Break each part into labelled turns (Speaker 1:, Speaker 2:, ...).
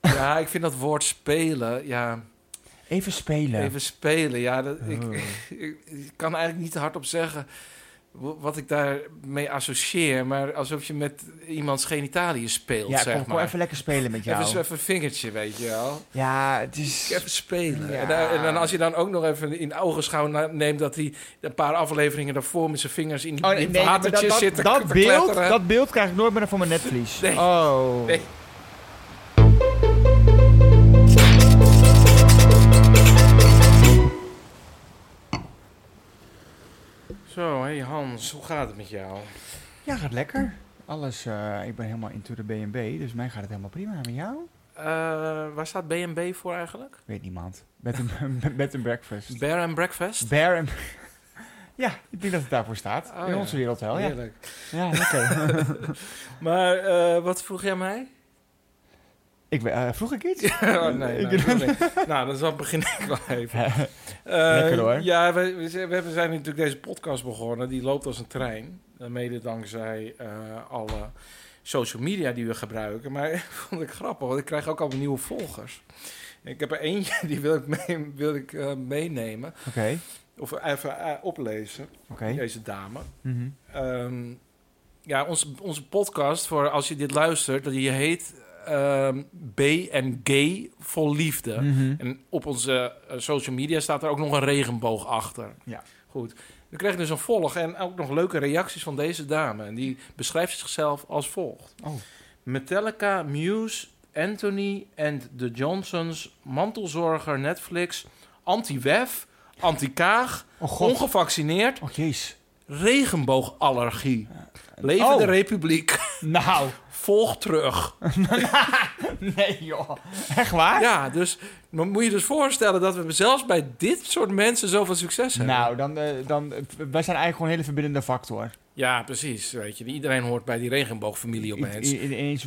Speaker 1: Ja, ik vind dat woord spelen, ja,
Speaker 2: Even spelen. Oh.
Speaker 1: even spelen. Ja, dat, ik, ik, ik kan eigenlijk niet hardop zeggen w- wat ik daarmee associeer. Maar alsof je met iemands genitaliën speelt,
Speaker 2: ja,
Speaker 1: zeg
Speaker 2: kom, kom
Speaker 1: maar.
Speaker 2: even lekker spelen met jou.
Speaker 1: Even, zo- even een vingertje, weet je wel.
Speaker 2: Ja, het is...
Speaker 1: Even spelen.
Speaker 2: Ja.
Speaker 1: En, daar- en dan als je dan ook nog even in ogenschouw na- neemt... dat hij een paar afleveringen daarvoor met zijn vingers in die,
Speaker 2: Oh,
Speaker 1: in
Speaker 2: nee,
Speaker 1: het
Speaker 2: nee, maar
Speaker 1: watertje
Speaker 2: dat, dat,
Speaker 1: zit te-
Speaker 2: dat
Speaker 1: te
Speaker 2: beeld,
Speaker 1: kletteren.
Speaker 2: dat beeld krijg ik nooit meer van mijn netvlies.
Speaker 1: Nee.
Speaker 2: Oh.
Speaker 1: Nee. Zo, hé Hans, hoe gaat het met jou?
Speaker 2: Ja, gaat lekker. Alles, eh, ik ben helemaal into de B&B, dus mij gaat het helemaal prima. En Met jou?
Speaker 1: Eh, waar staat B&B voor eigenlijk?
Speaker 2: Weet niemand. Met een, met een breakfast.
Speaker 1: Bear and Breakfast?
Speaker 2: Bear en... ja, ik denk dat het daarvoor staat.
Speaker 1: Oh,
Speaker 2: In
Speaker 1: ja.
Speaker 2: onze wereld wel, ja.
Speaker 1: Heerlijk.
Speaker 2: Ja, oké.
Speaker 1: Maar eh, wat vroeg jij mij?
Speaker 2: ik ben- eh, vroeg ik iets?
Speaker 1: oh, nee,
Speaker 2: Ik-
Speaker 1: nou, nee. nou, dan zal- begin ik wel even. Eh,
Speaker 2: Lekker hoor.
Speaker 1: Ja, we, we zijn- we zijn natuurlijk deze podcast begonnen. Die loopt als een trein. Eh, Mede dankzij eh, alle social media die we gebruiken. Maar vond ik grappig, want ik krijg ook allemaal nieuwe volgers. Ik heb er eentje, die wil ik, mee- wil ik eh, meenemen.
Speaker 2: Oké,
Speaker 1: Of even eh, oplezen.
Speaker 2: oké.
Speaker 1: Deze dame.
Speaker 2: Mhm.
Speaker 1: Ehm, ja, onze, onze podcast, voor als je dit luistert, die heet ehm, B en Gay vol liefde.
Speaker 2: Mhm.
Speaker 1: En op onze eh, social media staat er ook nog een regenboog achter.
Speaker 2: Ja.
Speaker 1: Goed. We kregen dus een volg en ook nog leuke reacties van deze dame. En die beschrijft zichzelf als volgt.
Speaker 2: Oh.
Speaker 1: Metallica, Muse, Anthony en The Johnsons, mantelzorger, Netflix, anti-wef, anti-kaag,
Speaker 2: Oh god.
Speaker 1: ongevaccineerd,
Speaker 2: Oh jeez.
Speaker 1: regenboogallergie. Leven
Speaker 2: Oh.
Speaker 1: de republiek.
Speaker 2: Nou,
Speaker 1: Volg terug.
Speaker 2: nee joh. Echt waar?
Speaker 1: Ja, dus dan moet je dus voorstellen dat we zelfs bij dit soort mensen zoveel succes hebben.
Speaker 2: Nou, dan, eh, dan, eh, wij zijn eigenlijk gewoon een hele verbindende factor.
Speaker 1: Ja, precies. Weet je, iedereen hoort bij die regenboogfamilie
Speaker 2: Ineens.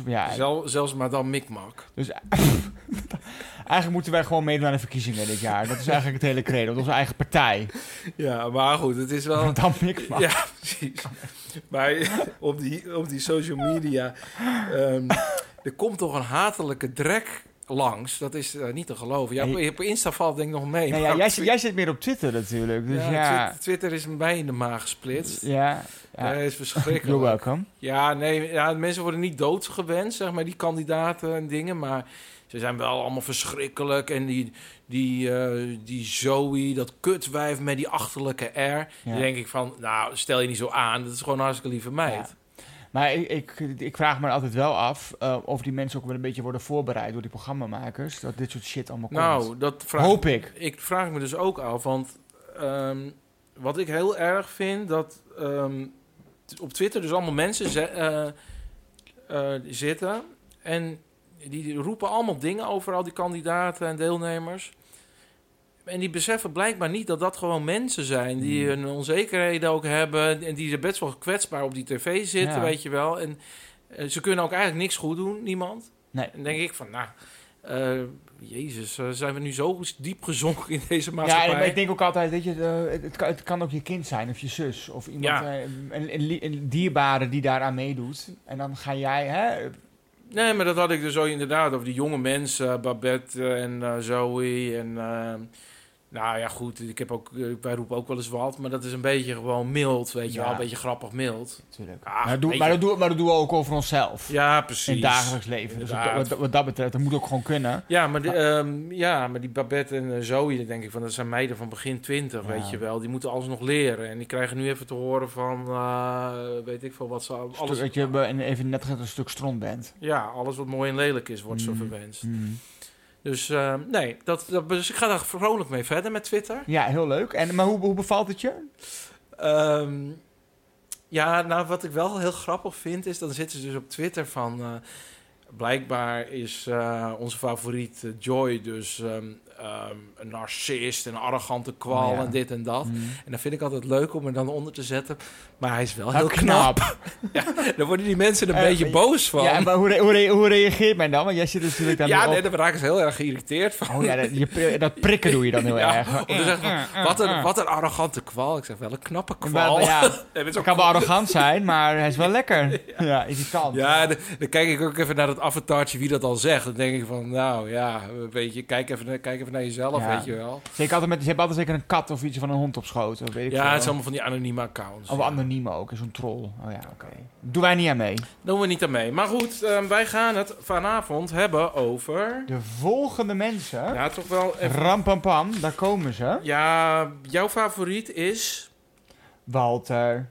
Speaker 1: opeens.
Speaker 2: ja,
Speaker 1: Zel, zelfs Madame Mikmak.
Speaker 2: Dus eigenlijk moeten wij gewoon meedoen aan de verkiezingen dit jaar. Dat is eigenlijk het hele credo. Onze eigen partij.
Speaker 1: Ja, maar goed, het is wel...
Speaker 2: Dan ik maar.
Speaker 1: Ja, precies. Maar op die, op die social media... ehm, er komt toch een hatelijke drek langs. Dat is eh, niet te geloven. Ja,
Speaker 2: Nee.
Speaker 1: op, op Insta valt denk ik nog mee.
Speaker 2: Nou ja,
Speaker 1: maar op
Speaker 2: jij,
Speaker 1: Twi-
Speaker 2: zit, jij zit meer op Twitter natuurlijk. Dus
Speaker 1: ja,
Speaker 2: ja.
Speaker 1: Twi- Twitter is mij in de maag gesplitst. Ja,
Speaker 2: Ja. ja.
Speaker 1: dat is
Speaker 2: You're
Speaker 1: verschrikkelijk.
Speaker 2: welcome.
Speaker 1: Ja, nee, ja, mensen worden niet doodgewenst, zeg maar, die kandidaten en dingen. Maar ze zijn wel allemaal verschrikkelijk. En die, die, eh, die Zoe, dat kutwijf met die achterlijke R. Dan denk ik van, nou, stel je niet zo aan. Dat is gewoon een hartstikke lieve meid.
Speaker 2: Maar ik, ik, ik vraag me altijd wel af eh, of die mensen ook wel een beetje worden voorbereid door die programmamakers. Dat dit soort shit allemaal komt.
Speaker 1: nou, dat vraag
Speaker 2: Hoop ik.
Speaker 1: ik vraag me dus ook af, want ehm, wat ik heel erg vind, dat ehm, t- op Twitter dus allemaal mensen ze- eh, eh, zitten en die roepen allemaal dingen over al die kandidaten en deelnemers. En die beseffen blijkbaar niet dat dat gewoon mensen zijn die
Speaker 2: Hmm.
Speaker 1: hun onzekerheden ook hebben en die er best wel kwetsbaar op die tv zitten,
Speaker 2: Ja.
Speaker 1: weet je wel. En eh, ze kunnen ook eigenlijk niks goed doen, niemand.
Speaker 2: Nee.
Speaker 1: En denk ik van, nou, eh, jezus, eh, zijn we nu zo diep gezonken in deze
Speaker 2: Ja,
Speaker 1: maatschappij?
Speaker 2: en- maar ik denk ook altijd, weet je, eh, het, het, kan, het kan ook je kind zijn of je zus of iemand,
Speaker 1: Ja.
Speaker 2: eh, een, een, li- een dierbare die daaraan meedoet. En dan ga jij, hè,
Speaker 1: Nee, maar dat had ik dus ook inderdaad over die jonge mensen, eh, Babette eh, en eh, Zoe en... eh, nou ja, goed, ik heb ook, eh, wij roepen ook wel eens wat, maar dat is een beetje gewoon mild, weet je
Speaker 2: Ja.
Speaker 1: wel. Een beetje grappig mild.
Speaker 2: natuurlijk.
Speaker 1: Ah,
Speaker 2: maar, doe,
Speaker 1: weet
Speaker 2: maar,
Speaker 1: je.
Speaker 2: dat doen, maar dat doen we ook over onszelf.
Speaker 1: Ja,
Speaker 2: in
Speaker 1: precies.
Speaker 2: het dagelijks leven. Dus wat,
Speaker 1: Inderdaad.
Speaker 2: wat, wat dat betreft, dat moet ook gewoon kunnen.
Speaker 1: Ja, maar, die, ehm, ja, maar die Babette en eh, Zoe, dan denk ik van, dat zijn meiden van begin twintig,
Speaker 2: Ja.
Speaker 1: weet je wel. Die moeten alles nog leren. En die krijgen nu even te horen van, eh, weet ik veel, wat ze
Speaker 2: Stu-
Speaker 1: alles
Speaker 2: Dat je eh, even net een stuk stront bent.
Speaker 1: Ja, alles wat mooi en lelijk is, wordt zo
Speaker 2: Mm.
Speaker 1: verwenst.
Speaker 2: Mhm.
Speaker 1: Dus eh, nee, dat, dat, dus ik ga daar vrolijk mee verder met Twitter.
Speaker 2: Ja, heel leuk. En, maar hoe, hoe bevalt het je?
Speaker 1: Ehm, ja, nou wat ik wel heel grappig vind is, dan zitten ze dus op Twitter van... eh, blijkbaar is eh, onze favoriet eh, Joy dus ehm, ehm, een narcist en een arrogante kwal
Speaker 2: Oh, Ja.
Speaker 1: en dit en dat.
Speaker 2: Mhm.
Speaker 1: En dan vind ik altijd leuk om er dan onder te zetten. Maar hij is wel
Speaker 2: Nou,
Speaker 1: heel knap. Dan worden die mensen een
Speaker 2: Eh,
Speaker 1: beetje
Speaker 2: maar-
Speaker 1: boos van.
Speaker 2: Ja, en
Speaker 1: Ja,
Speaker 2: maar hoe, re- hoe, re- hoe reageert men dan? Want jij zit natuurlijk daar weer
Speaker 1: nee,
Speaker 2: op.
Speaker 1: daar raken ze heel erg geïrriteerd van.
Speaker 2: Oh ja, dat, je pri- dat prikken doe je dan heel
Speaker 1: Ja,
Speaker 2: erg.
Speaker 1: of dan zeggen van, wat, een, wat een arrogante kwal. Ik zeg, wel een knappe kwal.
Speaker 2: Maar,
Speaker 1: Ja,
Speaker 2: ja, het kan wel arrogant zijn, maar hij is wel lekker. Ja, irritant.
Speaker 1: ja dan, dan kijk ik ook even naar dat avatartje wie dat al zegt. Dan denk ik van, nou ja, weet je, kijk even, naar- kijk even naar jezelf,
Speaker 2: Ja.
Speaker 1: weet je wel.
Speaker 2: Zeker altijd met, ze hebben altijd zeker een kat of iets van een hond op schoot. Of weet ik
Speaker 1: Ja,
Speaker 2: veel.
Speaker 1: het is allemaal van die anonieme accounts.
Speaker 2: Of anoniem ook, zo'n troll. Oh ja, oké. Doen wij niet aan mee.
Speaker 1: Doen we niet aan mee. Maar goed, ehm, wij gaan het vanavond hebben over...
Speaker 2: De volgende mensen.
Speaker 1: Ja, toch wel even...
Speaker 2: Ram pam pam, daar komen ze.
Speaker 1: Ja, jouw favoriet is...
Speaker 2: Walter.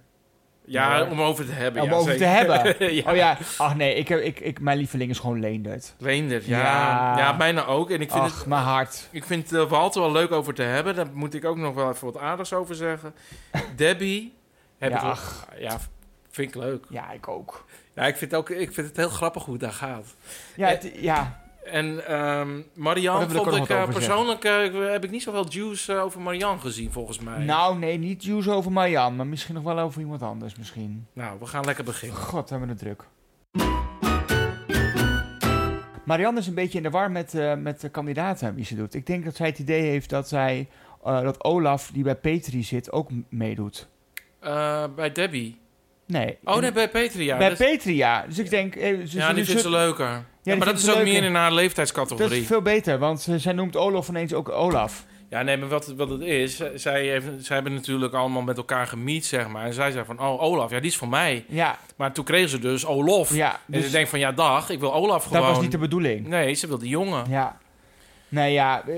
Speaker 1: Ja,
Speaker 2: Ja.
Speaker 1: om over te hebben.
Speaker 2: om
Speaker 1: ja,
Speaker 2: over te
Speaker 1: zeker.
Speaker 2: hebben.
Speaker 1: ja.
Speaker 2: Oh ja, ach nee, ik, heb- ik, ik, mijn lieveling is gewoon Leendert.
Speaker 1: Leendert, ja.
Speaker 2: Ja.
Speaker 1: ja. bijna ook. En ik vind
Speaker 2: Ach,
Speaker 1: het...
Speaker 2: mijn hart.
Speaker 1: Ik vind eh, Walter wel leuk over te hebben. Daar moet ik ook nog wel even wat aardigs over zeggen. Debbie. Heb
Speaker 2: Ja,
Speaker 1: ik wel- ja, vind ik leuk.
Speaker 2: Ja, ik ook.
Speaker 1: Ja, ik, vind ook, ik vind het heel grappig hoe het daar gaat.
Speaker 2: Ja,
Speaker 1: Eh,
Speaker 2: het- ja.
Speaker 1: En ehm
Speaker 2: Oh,
Speaker 1: Marianne
Speaker 2: daar wil ik
Speaker 1: vond
Speaker 2: ook nog
Speaker 1: ik
Speaker 2: wat
Speaker 1: eh,
Speaker 2: over
Speaker 1: persoonlijk... eh, heb ik niet zoveel juice eh, over Marianne gezien, volgens mij.
Speaker 2: nou nee, niet Jules over Marjan, maar misschien nog wel over iemand anders misschien.
Speaker 1: Nou, we gaan lekker beginnen.
Speaker 2: God, hebben we het druk. Marianne is een beetje in de war met, eh, met de kandidaten wie ze doet. Ik denk dat zij het idee heeft dat, zij, eh, dat Olaf, die bij Petri zit, ook m- meedoet.
Speaker 1: Eh, bij Debbie.
Speaker 2: Nee.
Speaker 1: Oh,
Speaker 2: in-
Speaker 1: nee, bij Petria.
Speaker 2: bij
Speaker 1: Dat-
Speaker 2: Petri, ja. Dus ik denk... eh, ze-
Speaker 1: ja,
Speaker 2: ze-
Speaker 1: die
Speaker 2: ze-
Speaker 1: vindt ze leuker. dus- Ja, maar dat
Speaker 2: vindt
Speaker 1: is
Speaker 2: ze
Speaker 1: ook
Speaker 2: leuker.
Speaker 1: meer in haar
Speaker 2: dat
Speaker 1: leeftijdscategorie.
Speaker 2: is veel beter, want eh, zij noemt Olaf ineens ook Olaf.
Speaker 1: Ja, nee, maar wat, wat het is, eh, zij, heeft- zij hebben natuurlijk allemaal met elkaar gemiet, zeg maar. En zij zei van, oh, Olaf, ja, die is voor mij.
Speaker 2: Ja,
Speaker 1: Maar toen kregen ze dus Olof.
Speaker 2: ja.
Speaker 1: en
Speaker 2: Dus
Speaker 1: ze denkt van, ja, dag, ik wil Olaf
Speaker 2: dat
Speaker 1: gewoon.
Speaker 2: was niet de bedoeling.
Speaker 1: Nee, ze wil die jongen.
Speaker 2: Ja. Nou ja, eh,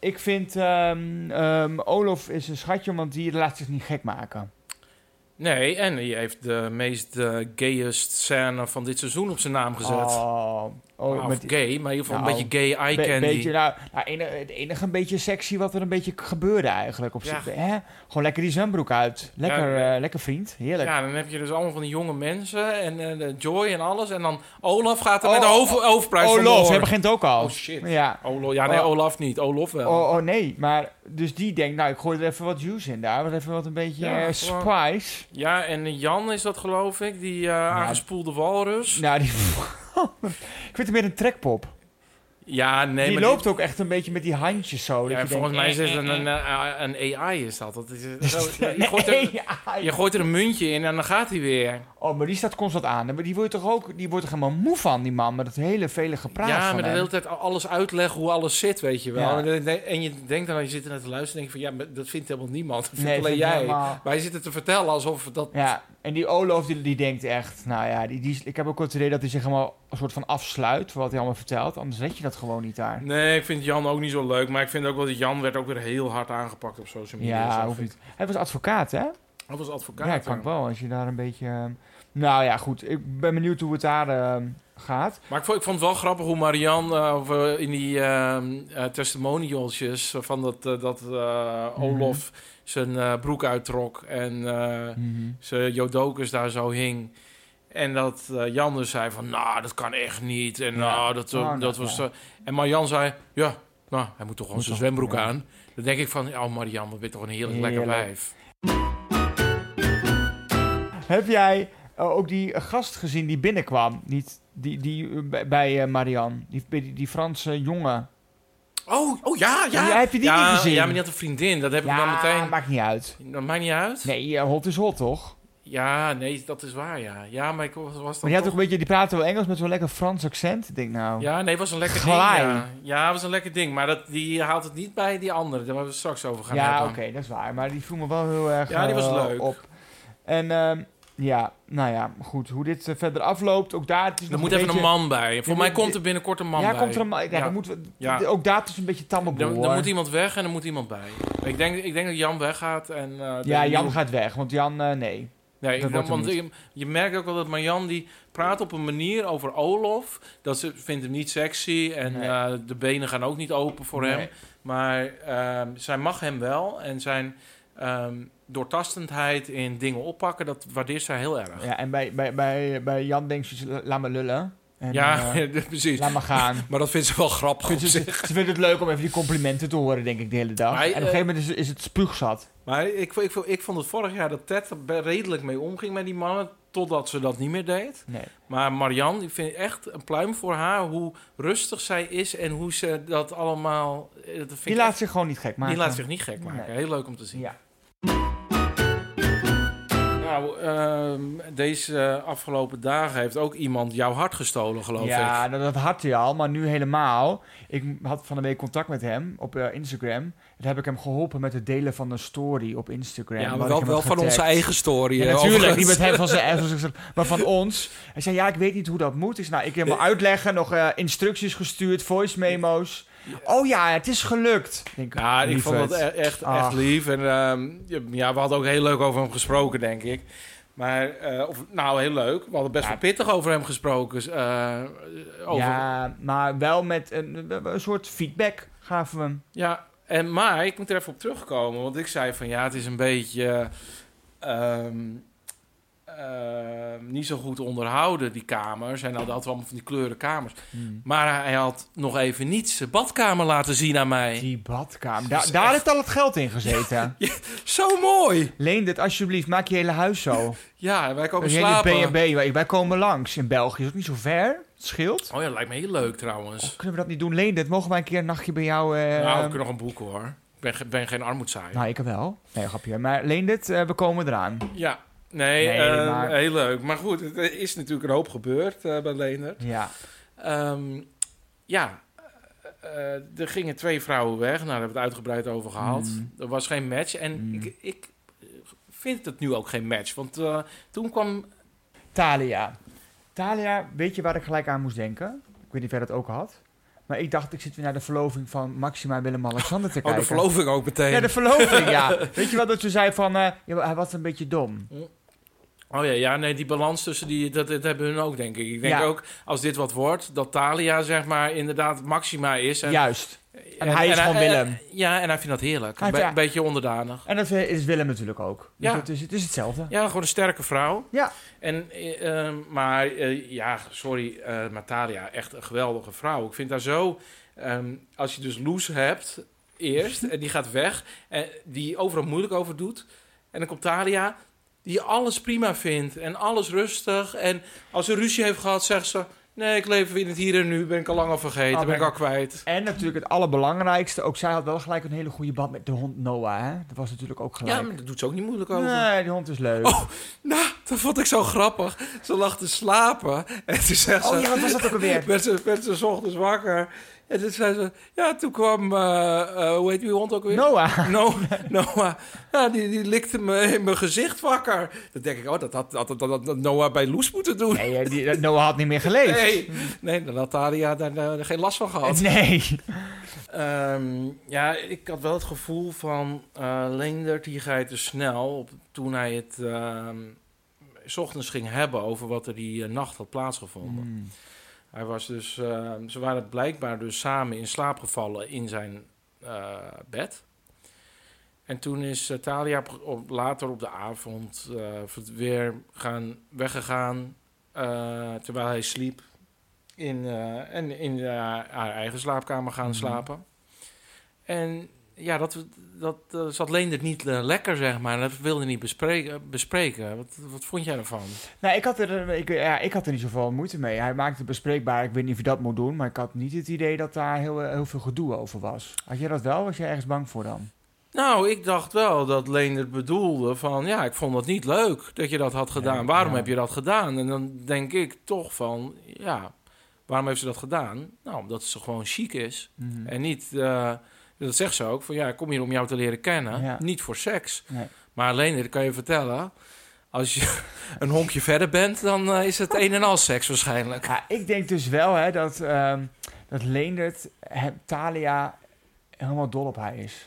Speaker 2: ik vind... ehm, ehm, Olaf is een schatje, want die laat zich niet gek maken.
Speaker 1: Nee, en die heeft de meest eh, gayest scène van dit seizoen op zijn naam gezet.
Speaker 2: Oh, oh,
Speaker 1: of
Speaker 2: met die-
Speaker 1: gay, maar in ieder geval
Speaker 2: Nou,
Speaker 1: een beetje gay eye
Speaker 2: be-
Speaker 1: candy.
Speaker 2: beetje, nou, nou, ene- het enige een beetje sexy wat er een beetje k- gebeurde eigenlijk. Op
Speaker 1: Ja.
Speaker 2: zich, hè? Gewoon lekker die zwembroek uit. Lekker,
Speaker 1: Ja.
Speaker 2: eh, lekker vriend. Heerlijk.
Speaker 1: Ja, dan heb je dus allemaal van die jonge mensen en eh, de Joy en alles. En dan Olaf gaat er
Speaker 2: Oh,
Speaker 1: met de hoofd, hoofdprijs
Speaker 2: oh,
Speaker 1: vandoor.
Speaker 2: Lof, hij begint ook al.
Speaker 1: Oh, shit.
Speaker 2: Ja.
Speaker 1: Olof, ja, nee,
Speaker 2: Oh.
Speaker 1: Olaf niet. Olaf wel.
Speaker 2: Oh, oh nee, maar dus die denkt, nou ik gooi er even wat juice in daar, wat even wat een beetje
Speaker 1: Ja,
Speaker 2: eh,
Speaker 1: gewoon-
Speaker 2: spice.
Speaker 1: Ja, en Jan is dat geloof ik, die eh, aangespoelde walrus.
Speaker 2: Nou, die... ik vind hem meer een trekpop.
Speaker 1: Ja, nee,
Speaker 2: die
Speaker 1: maar
Speaker 2: loopt ook echt een beetje met die handjes zo.
Speaker 1: die-
Speaker 2: dat
Speaker 1: ja,
Speaker 2: je
Speaker 1: volgens
Speaker 2: denkt,
Speaker 1: mij is
Speaker 2: eh,
Speaker 1: het een,
Speaker 2: eh,
Speaker 1: een,
Speaker 2: eh.
Speaker 1: een AI is dat. dat is, eh, zo- je, gooit
Speaker 2: Nee,
Speaker 1: er,
Speaker 2: ja,
Speaker 1: je gooit er een muntje in en dan gaat hij weer.
Speaker 2: Oh, maar die staat constant aan. Maar die wordt toch ook, die wordt toch helemaal moe van, die man, met dat hele vele gepraat
Speaker 1: ja,
Speaker 2: van
Speaker 1: maar de
Speaker 2: hem.
Speaker 1: hele tijd alles uitleggen hoe alles zit, weet je wel.
Speaker 2: Ja.
Speaker 1: En, dan denk- en je denkt dan, je zit er naar te luisteren en denk je van... Ja, maar dat vindt helemaal niemand. Dat vindt
Speaker 2: Nee,
Speaker 1: alleen
Speaker 2: vind ik
Speaker 1: jij.
Speaker 2: helemaal-
Speaker 1: Maar je zit het te vertellen alsof dat...
Speaker 2: Ja, en die Olof, die, die denkt echt, nou ja, die, die, ik heb ook wel het idee dat hij zich helemaal een soort van afsluit voor wat hij allemaal vertelt. Anders weet je dat gewoon niet daar.
Speaker 1: Nee, ik vind Jan ook niet zo leuk. Maar ik vind ook wel dat Jan werd ook weer heel hard aangepakt op social media.
Speaker 2: Ja,
Speaker 1: zag
Speaker 2: hoeft
Speaker 1: ik.
Speaker 2: niet. Hij was advocaat, hè?
Speaker 1: Dat was advocaat.
Speaker 2: ja, kan
Speaker 1: ja.
Speaker 2: ik wel, als je daar een beetje... ehm, Nou ja, goed, ik ben benieuwd hoe het daar ehm, gaat.
Speaker 1: Maar ik vond, ik vond het wel grappig hoe Marianne eh, of, eh, in die ehm eh, testimonialsjes van dat, eh, dat eh,
Speaker 2: Mhm.
Speaker 1: Olof zijn eh, broek uittrok en eh, zijn Jodokus daar zo hing. En dat eh, Jan dus zei van, nou, dat kan echt niet. En
Speaker 2: Ja.
Speaker 1: nou, dat, eh,
Speaker 2: Oh, nou,
Speaker 1: dat was...
Speaker 2: ja.
Speaker 1: eh, en Marianne zei, ja, nou, hij moet toch gewoon
Speaker 2: Moet
Speaker 1: zijn
Speaker 2: toch,
Speaker 1: zwembroek
Speaker 2: ja.
Speaker 1: aan. Dan denk ik van, oh Marianne, wat ben je toch een heerlijk, lekker
Speaker 2: Heerlijk.
Speaker 1: wijf.
Speaker 2: Heb jij eh, ook die gast gezien die binnenkwam? Niet, die, die, eh, bij- bij eh, Marianne, die, die, die Franse jongen.
Speaker 1: Oh, oh ja, ja.
Speaker 2: Ja, heb je die
Speaker 1: ja,
Speaker 2: niet gezien?
Speaker 1: Ja, maar die had een vriendin. Dat heb ik dan meteen...
Speaker 2: maakt niet uit.
Speaker 1: Dat maakt niet uit.
Speaker 2: Nee, eh, hot is hot, toch?
Speaker 1: Ja, nee, dat is waar, ja. Ja, maar ik was, was
Speaker 2: Maar
Speaker 1: dan
Speaker 2: die, had ook
Speaker 1: toch-
Speaker 2: een beetje, die praatte wel Engels met zo'n lekker Frans accent. Ik denk nou...
Speaker 1: Ja, nee, was een lekker
Speaker 2: Glaai.
Speaker 1: ding. Ja. ja, was een lekker ding. Maar dat, die haalt het niet bij die andere. Daar waar we het straks over gaan
Speaker 2: Ja,
Speaker 1: hebben.
Speaker 2: oké, dat is waar. Maar die voel me wel heel erg
Speaker 1: Ja, die was
Speaker 2: eh,
Speaker 1: leuk.
Speaker 2: op. En ehm, ja, nou ja, goed. Hoe dit eh, verder afloopt, ook daar... Het is
Speaker 1: Er
Speaker 2: nog
Speaker 1: moet
Speaker 2: een
Speaker 1: even een
Speaker 2: beetje-
Speaker 1: man bij. Voor
Speaker 2: Ja,
Speaker 1: mij
Speaker 2: die-
Speaker 1: komt er binnenkort een man
Speaker 2: ja,
Speaker 1: bij.
Speaker 2: komt er een man... Ja,
Speaker 1: Ja.
Speaker 2: Dan moeten we,
Speaker 1: Ja.
Speaker 2: d- Ook daar is een beetje tammeboel,
Speaker 1: Dan, dan
Speaker 2: hoor.
Speaker 1: moet iemand weg en er moet iemand bij. Ik denk, ik denk dat Jan weggaat. En, eh, dat
Speaker 2: Ja,
Speaker 1: er
Speaker 2: Jan
Speaker 1: nieuw-
Speaker 2: gaat weg, want Jan, eh, nee.
Speaker 1: Nee,
Speaker 2: dat
Speaker 1: ik-
Speaker 2: wordt hem
Speaker 1: want je, je merkt ook wel dat Marjan die praat op een manier over Olof. Dat ze vindt hem niet sexy en
Speaker 2: Nee.
Speaker 1: eh, de benen gaan ook niet open voor hem.
Speaker 2: Nee.
Speaker 1: Maar ehm, zij mag hem wel. En zijn ehm, doortastendheid in dingen oppakken, dat waardeert zij heel erg.
Speaker 2: Ja, en bij, bij, bij, bij Jan denkt ze, laat me lullen. En,
Speaker 1: ja,
Speaker 2: eh,
Speaker 1: precies.
Speaker 2: laat maar gaan.
Speaker 1: Maar dat vindt ze wel grappig op
Speaker 2: Vindt Ze,
Speaker 1: zich.
Speaker 2: ze vinden het leuk om even die complimenten te horen, denk ik, de hele dag.
Speaker 1: Maar,
Speaker 2: en op een
Speaker 1: eh,
Speaker 2: gegeven moment is, is het spuugzat.
Speaker 1: Maar ik, ik, ik vond het vorig jaar dat Ted er be- redelijk mee omging met die mannen... totdat ze dat niet meer deed.
Speaker 2: Nee.
Speaker 1: Maar Marianne, ik vind echt een pluim voor haar... hoe rustig zij is en hoe ze dat allemaal... eh, Dat vind
Speaker 2: Die
Speaker 1: ik
Speaker 2: laat
Speaker 1: echt-
Speaker 2: zich gewoon niet gek maken.
Speaker 1: die laat zich niet gek maken.
Speaker 2: Nee.
Speaker 1: Heel leuk om te zien.
Speaker 2: Ja.
Speaker 1: Nou, ehm, deze afgelopen dagen heeft ook iemand jouw hart gestolen, geloof
Speaker 2: ja,
Speaker 1: ik.
Speaker 2: dat, dat had hij al, maar nu helemaal. Ik m- had van de week contact met hem op eh, Instagram. En Daar heb ik hem geholpen met het delen van een story op Instagram.
Speaker 1: Ja,
Speaker 2: waar
Speaker 1: maar
Speaker 2: ik
Speaker 1: wel,
Speaker 2: hem
Speaker 1: wel
Speaker 2: had
Speaker 1: van onze
Speaker 2: getagd.
Speaker 1: eigen story.
Speaker 2: Ja,
Speaker 1: hè,
Speaker 2: natuurlijk, niet
Speaker 1: overigens.
Speaker 2: met hem van zijn eigen, zoals ik zeg, maar van ons. Hij zei, ja, ik weet niet hoe dat moet. Ik zei, nou, ik heb hem uitleggen, nog eh, instructies gestuurd, voice memo's. Oh ja, het is gelukt. Ik Denk,
Speaker 1: Ja, ik vond
Speaker 2: lieverd.
Speaker 1: dat e- echt, echt
Speaker 2: Ach.
Speaker 1: lief. En ehm, ja, we hadden ook heel leuk over hem gesproken, denk ik. Maar, eh, of, nou, heel leuk. We hadden best
Speaker 2: Ja.
Speaker 1: wel pittig over hem gesproken. eh, over, ja.
Speaker 2: Ja, maar wel met een, een soort feedback gaven we hem.
Speaker 1: en, maar ik moet er even op terugkomen. Want ik zei van, ja, het is een beetje... ehm, ehm, niet zo goed onderhouden, die kamers. En nou, dat allemaal van die kleuren kamers. Maar hij had nog even niet zijn badkamer laten zien aan mij.
Speaker 2: Die badkamer,
Speaker 1: Dat
Speaker 2: daar
Speaker 1: is
Speaker 2: daar
Speaker 1: echt-
Speaker 2: heeft al het geld in gezeten.
Speaker 1: Zo mooi!
Speaker 2: Leen dit alsjeblieft, maak je hele huis zo.
Speaker 1: Ja, wij komen
Speaker 2: Als je
Speaker 1: slapen.
Speaker 2: in B&B, wij- wij komen langs. In België is ook niet zo ver, het scheelt.
Speaker 1: Oh ja, lijkt me heel leuk trouwens.
Speaker 2: Kunnen we dat niet doen? Leen dit, mogen wij een keer een nachtje bij jou... eh,
Speaker 1: nou, ik kan nog een boek hoor. Ik ben, ge- ben geen armoedzaaier.
Speaker 2: Nou, ik wel. Nee, grapje. Maar leen dit, eh, we komen eraan.
Speaker 1: Ja, nee,
Speaker 2: Nee,
Speaker 1: eh,
Speaker 2: maar-
Speaker 1: heel leuk. Maar goed, het- er is natuurlijk een hoop gebeurd eh, bij Leendert.
Speaker 2: Ja.
Speaker 1: Ehm, ja, eh, er gingen twee vrouwen weg. Nou, daar hebben we het uitgebreid over gehad.
Speaker 2: Mm.
Speaker 1: Er was geen match. En
Speaker 2: Mm.
Speaker 1: ik, ik eh, vind het nu ook geen match. Want eh, toen
Speaker 2: Oh,
Speaker 1: kwam...
Speaker 2: Thalia. Thalia, weet je waar ik gelijk aan moest denken? Ik weet niet of jij dat ook had. Maar ik dacht, ik zit weer naar de verloving van Maxima en Willem-Alexander
Speaker 1: Oh,
Speaker 2: te kijken.
Speaker 1: verloving ook meteen.
Speaker 2: Ja, de verloving, ja. Weet je wat dat ze zei van, eh, ja, maar hij was een beetje dom.
Speaker 1: Oh ja, ja, nee, die balans tussen die, dat, dat hebben hun ook, denk ik. Ik denk
Speaker 2: Ja.
Speaker 1: ook, als dit wat wordt, dat Thalia, zeg maar, inderdaad Maxima is. En,
Speaker 2: Juist. En hij is gewoon Willem.
Speaker 1: ja, en hij vindt dat heerlijk.
Speaker 2: Hij
Speaker 1: Een be-
Speaker 2: vindt-
Speaker 1: een beetje onderdanig.
Speaker 2: En dat eh, is Willem natuurlijk ook. Dus
Speaker 1: Ja.
Speaker 2: het, is, het is hetzelfde.
Speaker 1: Ja, gewoon een sterke vrouw.
Speaker 2: Ja.
Speaker 1: En, eh, eh, maar eh, ja, sorry, eh Natalia, echt een geweldige vrouw. Ik vind haar zo, ehm, als je dus Loes hebt eerst, en die gaat weg, en die overal moeilijk over doet. En dan komt Talia, die alles prima vindt en alles rustig. En als ze ruzie heeft gehad, zegt ze, nee, ik leef in het hier en nu, ben ik al lang al vergeten,
Speaker 2: Oh,
Speaker 1: ben ik
Speaker 2: ben-
Speaker 1: al kwijt.
Speaker 2: En natuurlijk het allerbelangrijkste, ook zij had wel gelijk een hele goede band met de hond Noah. Hè? Dat was natuurlijk ook
Speaker 1: Ja,
Speaker 2: gelijk.
Speaker 1: maar daar doet ze ook niet moeilijk over.
Speaker 2: nee, die hond is leuk.
Speaker 1: Oh, Nou, dat vond ik zo grappig. Ze lag te slapen en toen zegt ze...
Speaker 2: oh ja, wat was dat ook alweer?
Speaker 1: werd ze, werd ze 's ochtends wakker. En toen zei ze... Ja, toen kwam... eh, eh, hoe heet die hond ook weer?
Speaker 2: Noah.
Speaker 1: No, Noah. Ja, die, die likte me in mijn gezicht wakker. Dan denk ik... Oh, dat had, dat had- dat had Noah bij Loes moeten doen.
Speaker 2: Nee, eh, die, Noah had niet meer geleefd.
Speaker 1: Nee, nee dan had Talia daar, eh, geen last van gehad.
Speaker 2: Nee.
Speaker 1: Ehm, ja, ik had wel het gevoel van... eh Leendert, die ga je te snel... Op, toen hij het... ehm, s ochtends ging hebben over wat er die eh, nacht had plaatsgevonden.
Speaker 2: Hmm.
Speaker 1: Hij was dus, eh, ze waren blijkbaar dus samen in slaap gevallen in zijn eh, bed. En toen is eh, Thalia op, op- later op de avond eh, ver- weer gaan, weggegaan eh, terwijl hij sliep. In, eh, en in eh, haar eigen slaapkamer gaan
Speaker 2: Mhm.
Speaker 1: slapen. En ja, dat, dat eh, zat Leendert niet eh, lekker, zeg maar. Dat wilde niet bespreken. bespreken. Wat, wat vond jij ervan?
Speaker 2: Nou, ik had, er, eh, ik, ja, ik had er niet zoveel moeite mee. Hij maakte het bespreekbaar. Ik weet niet of je dat moet doen. Maar ik had niet het idee dat daar heel, eh, heel veel gedoe over was. Had jij dat wel? Was jij ergens bang voor dan?
Speaker 1: Nou, ik dacht wel dat Leendert bedoelde van... ja, ik vond dat niet leuk dat je dat had gedaan.
Speaker 2: Ja,
Speaker 1: waarom
Speaker 2: ja.
Speaker 1: heb je dat gedaan? En dan denk ik toch van, ja, waarom heeft ze dat gedaan? Nou, omdat ze gewoon chic is. En niet, eh, dat zegt ze ook, van ja, ik kom hier om jou te leren kennen.
Speaker 2: Ja.
Speaker 1: Niet voor seks.
Speaker 2: Nee.
Speaker 1: Maar Leendert, kan je vertellen... als je een honkje verder bent, dan eh, is het een en al seks waarschijnlijk.
Speaker 2: Ja, ik denk dus wel hè, dat, ehm, dat Leendert hem, Thalia helemaal dol op hij is.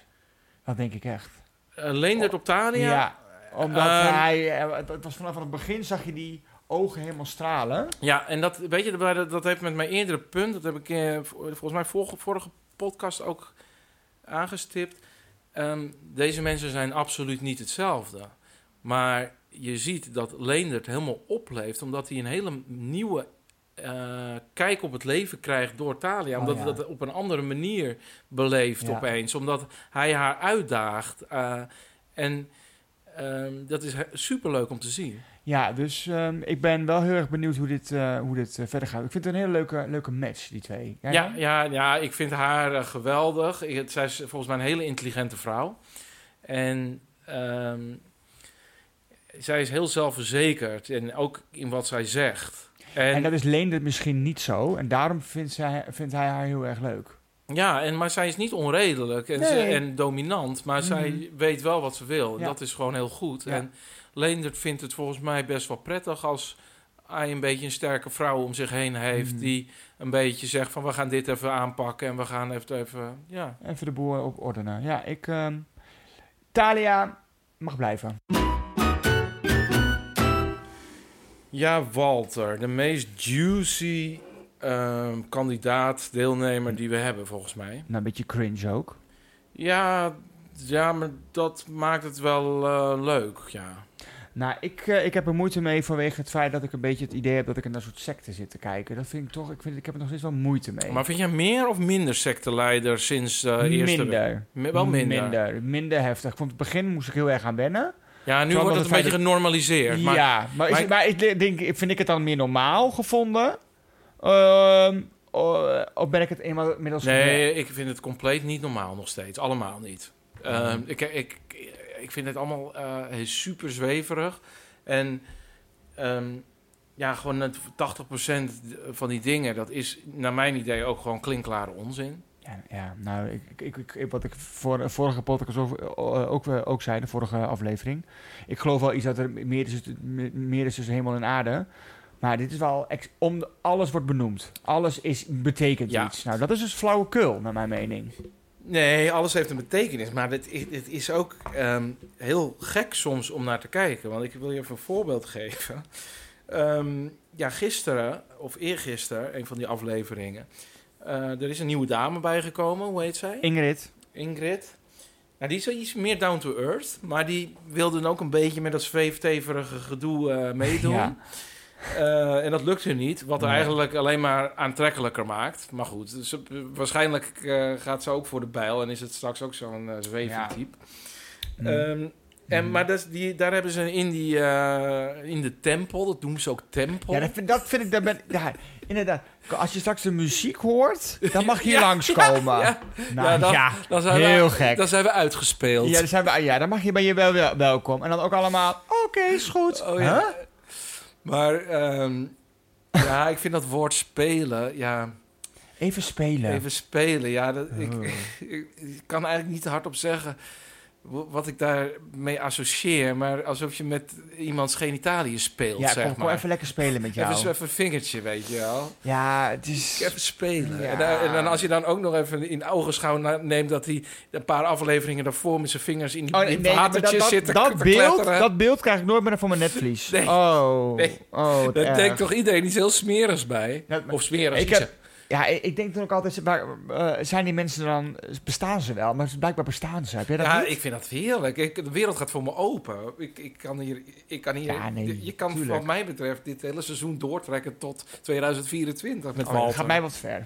Speaker 2: Dat denk ik echt.
Speaker 1: Eh, Leendert op Thalia?
Speaker 2: Ja, omdat
Speaker 1: Ehm.
Speaker 2: hij... eh, Het het was vanaf het begin zag je die ogen helemaal stralen.
Speaker 1: Ja, en dat, weet je, dat, dat heeft met mijn eerdere punt, dat heb ik eh, vo- volgens mij vorige, vorige podcast ook aangestipt. Ehm, deze mensen zijn absoluut niet hetzelfde. Maar je ziet dat Leendert helemaal opleeft, omdat hij een hele nieuwe eh, kijk op het leven krijgt door Talia.
Speaker 2: Oh,
Speaker 1: Omdat
Speaker 2: ja.
Speaker 1: hij dat op een andere manier beleeft
Speaker 2: Ja.
Speaker 1: opeens. Omdat hij haar uitdaagt. eh, en ehm, dat is he- superleuk om te zien.
Speaker 2: Ja, dus ehm, ik ben wel heel erg benieuwd hoe dit, eh, hoe dit eh, verder gaat. Ik vind het een hele leuke, leuke match, die twee. Jij
Speaker 1: Ja,
Speaker 2: dan?
Speaker 1: ja, ja, ik vind haar eh, geweldig. Ik, het- zij is volgens mij een hele intelligente vrouw. En ehm, zij is heel zelfverzekerd. En ook in wat zij zegt.
Speaker 2: En,
Speaker 1: En,
Speaker 2: dat is Leende misschien niet zo. En daarom vindt, zij, vindt hij haar heel erg leuk.
Speaker 1: ja, en, maar zij is niet onredelijk en, ze,
Speaker 2: Nee.
Speaker 1: en dominant. Maar zij
Speaker 2: Mhm.
Speaker 1: weet wel wat ze wil. En
Speaker 2: Ja.
Speaker 1: dat is gewoon heel goed.
Speaker 2: Ja.
Speaker 1: En Leendert vindt het volgens mij best wel prettig als hij een beetje een sterke vrouw om zich heen heeft.
Speaker 2: Mhm.
Speaker 1: Die een beetje zegt van we gaan dit even aanpakken. En we gaan even, even ja,
Speaker 2: Even de boer op ordenen. Ja, ik... ehm, Talia mag blijven.
Speaker 1: Ja, Walter, de meest juicy ehm, kandidaat, deelnemer die we hebben, volgens mij.
Speaker 2: Nou, een beetje cringe ook.
Speaker 1: Ja, ja maar dat maakt het wel eh, leuk, ja.
Speaker 2: Nou, ik, eh, ik heb er moeite mee vanwege het feit dat ik een beetje het idee heb dat ik in een soort secte zit te kijken. Dat vind ik toch... Ik, vind, ik heb er nog steeds wel moeite mee.
Speaker 1: Maar vind jij meer of minder secteleider sinds eh eerste...
Speaker 2: minder.
Speaker 1: Mi- wel minder.
Speaker 2: minder. Minder heftig. Ik vond het begin moest ik heel erg aan wennen.
Speaker 1: Ja, nu
Speaker 2: Zo
Speaker 1: wordt
Speaker 2: was
Speaker 1: het een
Speaker 2: het
Speaker 1: beetje genormaliseerd. Maar,
Speaker 2: ja, maar, is
Speaker 1: maar-
Speaker 2: het- maar ik de- denk, vind ik het dan meer normaal gevonden? Ehm, o- of ben ik het eenmaal inmiddels... gewend?
Speaker 1: Nee, ik vind het compleet niet normaal nog steeds. Allemaal niet. Ehm, ik, ik, ik vind het allemaal eh, super zweverig. En ehm, ja, gewoon net 80% van die dingen, dat is naar mijn idee ook gewoon klinkklare onzin.
Speaker 2: Ja, ja nou, ik, ik- ik, ik, wat ik voor, vorige podcast over, eh, ook, eh, ook zei, de vorige aflevering. Ik geloof wel iets dat er meer is, meer is tussen hemel en aarde. Maar dit is wel... ex- om, de- alles wordt benoemd. Alles is, betekent
Speaker 1: Ja.
Speaker 2: iets. Nou, dat is dus flauwekul, naar mijn mening.
Speaker 1: Nee, alles heeft een betekenis. Maar het is, het is ook ehm, heel gek soms om naar te kijken. Want ik wil je even een voorbeeld geven. Ehm, ja, gisteren of eergisteren, een van die afleveringen. eh, er is een nieuwe dame bijgekomen. Hoe heet zij?
Speaker 2: Ingrid.
Speaker 1: Ingrid. Nou, die is wel iets meer down to earth. Maar die wilde dan ook een beetje met dat zweefteverige gedoe eh, meedoen.
Speaker 2: Ja.
Speaker 1: Eh, en dat lukte niet. Wat haar
Speaker 2: Nee.
Speaker 1: eigenlijk alleen maar aantrekkelijker maakt. Maar goed, ze, waarschijnlijk eh, gaat ze ook voor de bijl. En is het straks ook zo'n eh
Speaker 2: Ja.
Speaker 1: zwevend type.
Speaker 2: Mm.
Speaker 1: Ehm, en,
Speaker 2: Mm.
Speaker 1: maar dat, is- die, daar hebben ze in, die, eh, in de tempel, dat noemen ze ook tempel.
Speaker 2: Ja, dat vind, dat vind ik... Dat ben, ja, inderdaad. Als je straks de muziek hoort, dan mag je hier
Speaker 1: Ja,
Speaker 2: langskomen.
Speaker 1: ja.
Speaker 2: Nou,
Speaker 1: Ja,
Speaker 2: ja,
Speaker 1: dat- Dan zijn we-
Speaker 2: heel gek.
Speaker 1: Dan zijn we uitgespeeld.
Speaker 2: ja, dan zijn we, ja, dan mag je bij je wel, wel- welkom. En dan ook allemaal, oké, is goed.
Speaker 1: Oh ja. Maar ehm, ja, ik vind dat woord spelen, ja,
Speaker 2: Huh? Even spelen.
Speaker 1: even spelen, ja, dat, ik,
Speaker 2: Oh.
Speaker 1: ik, ik kan eigenlijk niet hardop zeggen w- wat ik daarmee associeer, maar alsof je met iemands genitaliën speelt,
Speaker 2: ja,
Speaker 1: zeg
Speaker 2: kom, kom
Speaker 1: maar.
Speaker 2: even lekker spelen met jou.
Speaker 1: Even, zo even een vingertje, weet je wel.
Speaker 2: ja, het is...
Speaker 1: Even spelen.
Speaker 2: Ja.
Speaker 1: En, dan- en dan als je dan ook nog even in ogenschouw na- neemt dat hij een paar afleveringen daarvoor met zijn vingers in die,
Speaker 2: Oh,
Speaker 1: in
Speaker 2: nee, maar dat,
Speaker 1: watertjes
Speaker 2: dat,
Speaker 1: zit te-
Speaker 2: dat
Speaker 1: te
Speaker 2: beeld,
Speaker 1: kletteren.
Speaker 2: dat beeld krijg ik nooit meer van mijn netvlies.
Speaker 1: Nee.
Speaker 2: Oh,
Speaker 1: Nee.
Speaker 2: oh wat
Speaker 1: Daar
Speaker 2: erg.
Speaker 1: denkt toch iedereen iets heel smerigs bij?
Speaker 2: Ja, maar-
Speaker 1: Of smerig.
Speaker 2: Ik
Speaker 1: iets-
Speaker 2: heb- Ja, ik, ik denk toen ook altijd, maar, eh, zijn die mensen dan, bestaan ze wel? Maar blijkbaar bestaan ze, heb jij dat
Speaker 1: Ja,
Speaker 2: niet?
Speaker 1: ik vind dat heerlijk. Ik, de wereld gaat voor me open. Ik, ik kan hier, ik kan hier,
Speaker 2: Ja, nee,
Speaker 1: je kan
Speaker 2: tuurlijk.
Speaker 1: wat mij betreft dit hele seizoen doortrekken tot 2024 met
Speaker 2: Oh, dat
Speaker 1: Walter. Eh,
Speaker 2: gaat mij wat ver.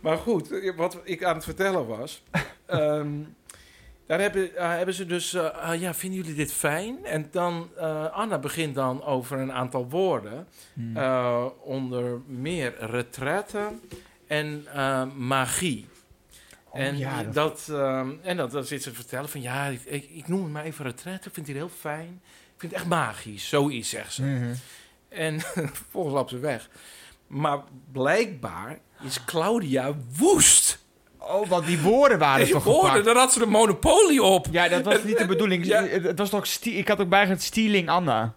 Speaker 1: Maar goed, wat ik aan het vertellen was. ehm, daar hebben, eh, hebben ze dus. eh, ah, ja, vinden jullie dit fijn? En dan. eh, Anna begint dan over een aantal woorden.
Speaker 2: Hmm.
Speaker 1: Eh, onder meer retraite en eh, magie.
Speaker 2: Oh,
Speaker 1: en,
Speaker 2: ja,
Speaker 1: dat...
Speaker 2: dat-
Speaker 1: ehm, en dat, dat zit ze te vertellen van ja, ik, ik, ik noem het maar even retret. Ik vind het hier heel fijn. Ik vind het echt magisch, zoiets zegt ze.
Speaker 2: Mhm.
Speaker 1: En vervolgens loopt ze weg. Maar blijkbaar is Claudia woest.
Speaker 2: Oh, want die woorden waren
Speaker 1: Je
Speaker 2: toch
Speaker 1: hoorde,
Speaker 2: gepakt.
Speaker 1: daar had ze de monopolie op.
Speaker 2: Ja, dat was niet de bedoeling.
Speaker 1: Ja.
Speaker 2: Het het was toch stie- ik had ook bijgezet stealing Anna.